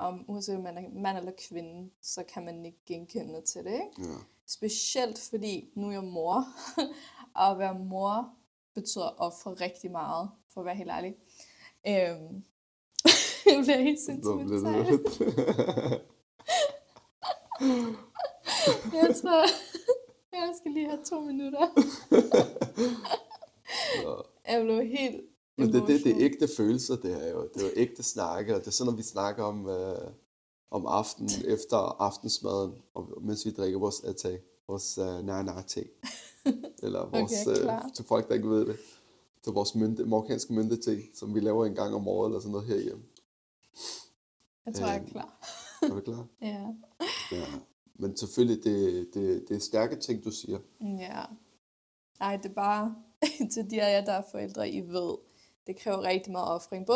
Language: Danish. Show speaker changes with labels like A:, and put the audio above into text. A: om, uanset om man er mand eller kvinde, så kan man ikke genkende til det. Ikke?
B: Ja.
A: Specielt fordi, nu er jeg mor, og at være mor betyder ofre rigtig meget, for at være helt ærlig. Øhm, jeg bliver helt sentimental. Jeg tror, jeg skal lige have to minutter. Jeg blev helt
B: Men det, det, det
A: emotional.
B: er ægte følelser, det her jo. Det er jo ægte snakke, og det er sådan, når vi snakker om, øh, om aftenen, efter aftensmaden, og, mens vi drikker vores ate, vores øh, nær-nær-te. Eller vores,
A: Okay,
B: okay, øh,
A: klart.
B: til folk, der ikke ved det, til vores mynte, marokkanske myndete, som vi laver en gang om året, eller sådan noget herhjemme.
A: Jeg tror, jeg er
B: Øhm.
A: klar.
B: Er du klar?
A: Ja.
B: Ja. Men selvfølgelig, det, det, det er stærke ting, du siger.
A: mm, Ja. Ej, det er bare til de af jer, der er forældre, I ved, det kræver rigtig meget offring. Både